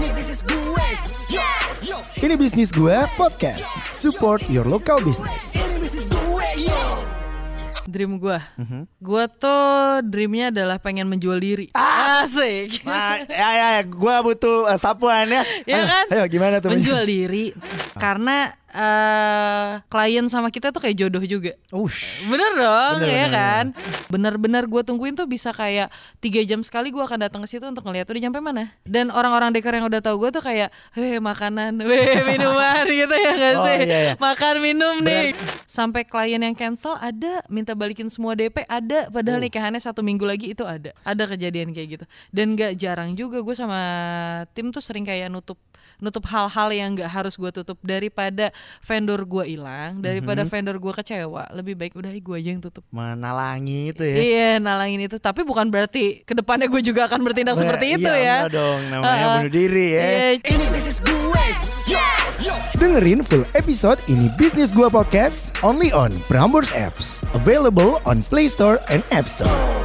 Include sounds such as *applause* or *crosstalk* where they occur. bisnis gue. Yo, yo. Ini bisnis gue podcast. Support your local business. Ini bisnis gue, yo. dream gue. Mhm. Gue tuh dreamnya adalah pengen menjual diri. Asik. Nah, ya ya, ya. gue butuh eh, sapuan ya. Ayo, ya kan? Ayo gimana tuh? Ah. Menjual diri karena eh, klien sama kita tuh kayak jodoh juga. Ush. Bener dong, Bener, ya bener, kan? Bener-bener gue tungguin tuh bisa kayak tiga jam sekali gue akan datang ke situ untuk ngeliat udah nyampe mana. Dan orang-orang dekor yang udah tahu gue tuh kayak, heh makanan, *laughs* heh minuman gitu ya gak Oh, sih? iya, iya. Makan minum nih. Sampai klien yang cancel ada, minta balikin semua DP ada, padahal Oh. nikahannya satu minggu lagi itu ada. Ada kejadian kayak gitu. Dan gak jarang juga gue sama tim tuh sering kayak nutup nutup hal-hal yang nggak harus gue tutup daripada vendor gue hilang daripada Mm-hmm. vendor gue kecewa lebih baik udah gue aja yang tutup Menalangi itu ya. iya nalangin itu tapi bukan berarti kedepannya gue juga akan bertindak Nah, seperti iya, itu ya enggak dong, namanya Ah, bunuh diri ya. iya. Ini bisnis gue. Yo, yo. Dengerin full episode ini bisnis gue podcast only on Prambors Apps. Available on Play Store and App Store.